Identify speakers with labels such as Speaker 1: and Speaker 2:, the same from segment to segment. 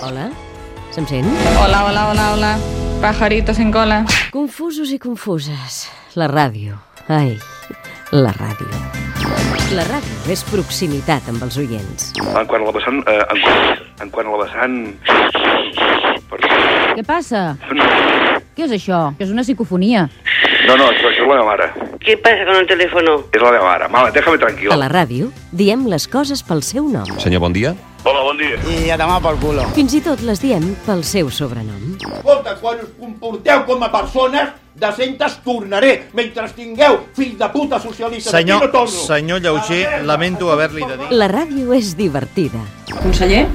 Speaker 1: Hola? Se'm sent?
Speaker 2: Hola, hola, hola, hola. Pajarito sin cola.
Speaker 1: Confusos i confuses. La ràdio. Ai, la ràdio. La ràdio és proximitat amb els oients.
Speaker 3: En quant a la vessant... Eh, en, quant, en quant a la vessant... Perdó.
Speaker 4: Què passa?
Speaker 3: No,
Speaker 4: Què és això? Que és una psicofonia.
Speaker 3: no, no això, això és la meva mare.
Speaker 5: ¿Qué pasa con el teléfono?
Speaker 3: És la meva mare. Mama, déjame tranquil.
Speaker 1: A la ràdio diem les coses pel seu nom.
Speaker 6: Senyor, bon dia.
Speaker 3: Hola, bon dia.
Speaker 7: I a tomar pel culo.
Speaker 1: Fins i tot les diem pel seu sobrenom.
Speaker 8: Escolta, quan us comporteu com a persones decentes, tornaré. Mentre tingueu fills de puta socialistes,
Speaker 9: Senyor,
Speaker 8: aquí no torno.
Speaker 9: senyor Lleuger,
Speaker 8: A la merda,
Speaker 9: lamento
Speaker 8: això
Speaker 9: haver-li
Speaker 8: és
Speaker 9: de dir.
Speaker 1: La ràdio és divertida.
Speaker 2: Conseller?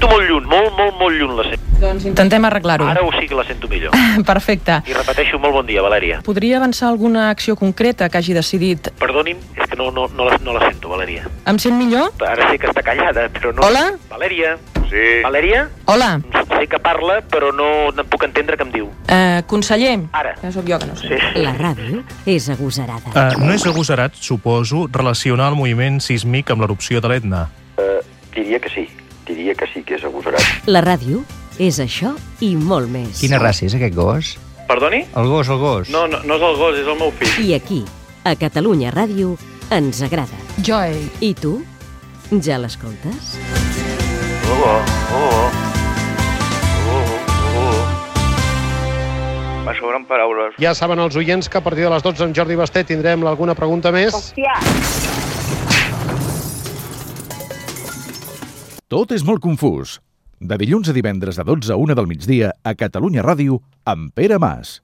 Speaker 10: Tu molt lluny, molt, molt, molt lluny la sento.
Speaker 2: Doncs intentem arreglar-ho.
Speaker 10: Ara ho sí que la sento millor.
Speaker 2: Perfecte.
Speaker 10: I repeteixo, molt bon dia, Valèria.
Speaker 2: Podria avançar alguna acció concreta que hagi decidit?
Speaker 10: Perdoni'm, és que no, no, no, la, no la sento, Valèria.
Speaker 2: Em sent millor?
Speaker 10: Ara sé que està callada, però no...
Speaker 2: Hola?
Speaker 10: Valèria?
Speaker 3: Sí.
Speaker 10: Valèria?
Speaker 2: Hola,
Speaker 10: Sé que parla, però no, no puc entendre què em diu.
Speaker 2: eh, conseller.
Speaker 10: Ara.
Speaker 2: Ja sóc jo que no sé.
Speaker 10: Sí.
Speaker 1: La ràdio és
Speaker 6: Ah.
Speaker 1: agosarada.
Speaker 11: Uh, no és agosarat, suposo, relacionar el moviment sísmic amb l'erupció de l'Etna.
Speaker 3: Diria que sí. Diria que sí que és agosarat.
Speaker 1: La ràdio és això i molt més.
Speaker 7: Quina raça és aquest gos?
Speaker 10: Perdoni?
Speaker 7: El gos, el gos.
Speaker 10: No, no, no és el gos, és el meu fill.
Speaker 1: I aquí, a Catalunya Ràdio, ens agrada.
Speaker 2: Joy.
Speaker 1: I tu? Ja l'escoltes?
Speaker 10: Oh, oh, oh. Oh, oh.
Speaker 3: Me sobren paraules.
Speaker 12: Ja saben els oients que a partir de les 12 amb Jordi Basté tindrem alguna pregunta més.
Speaker 13: Tot és molt confús. De dilluns a divendres de 12 a 1 del migdia a Catalunya Ràdio amb Pere Mas.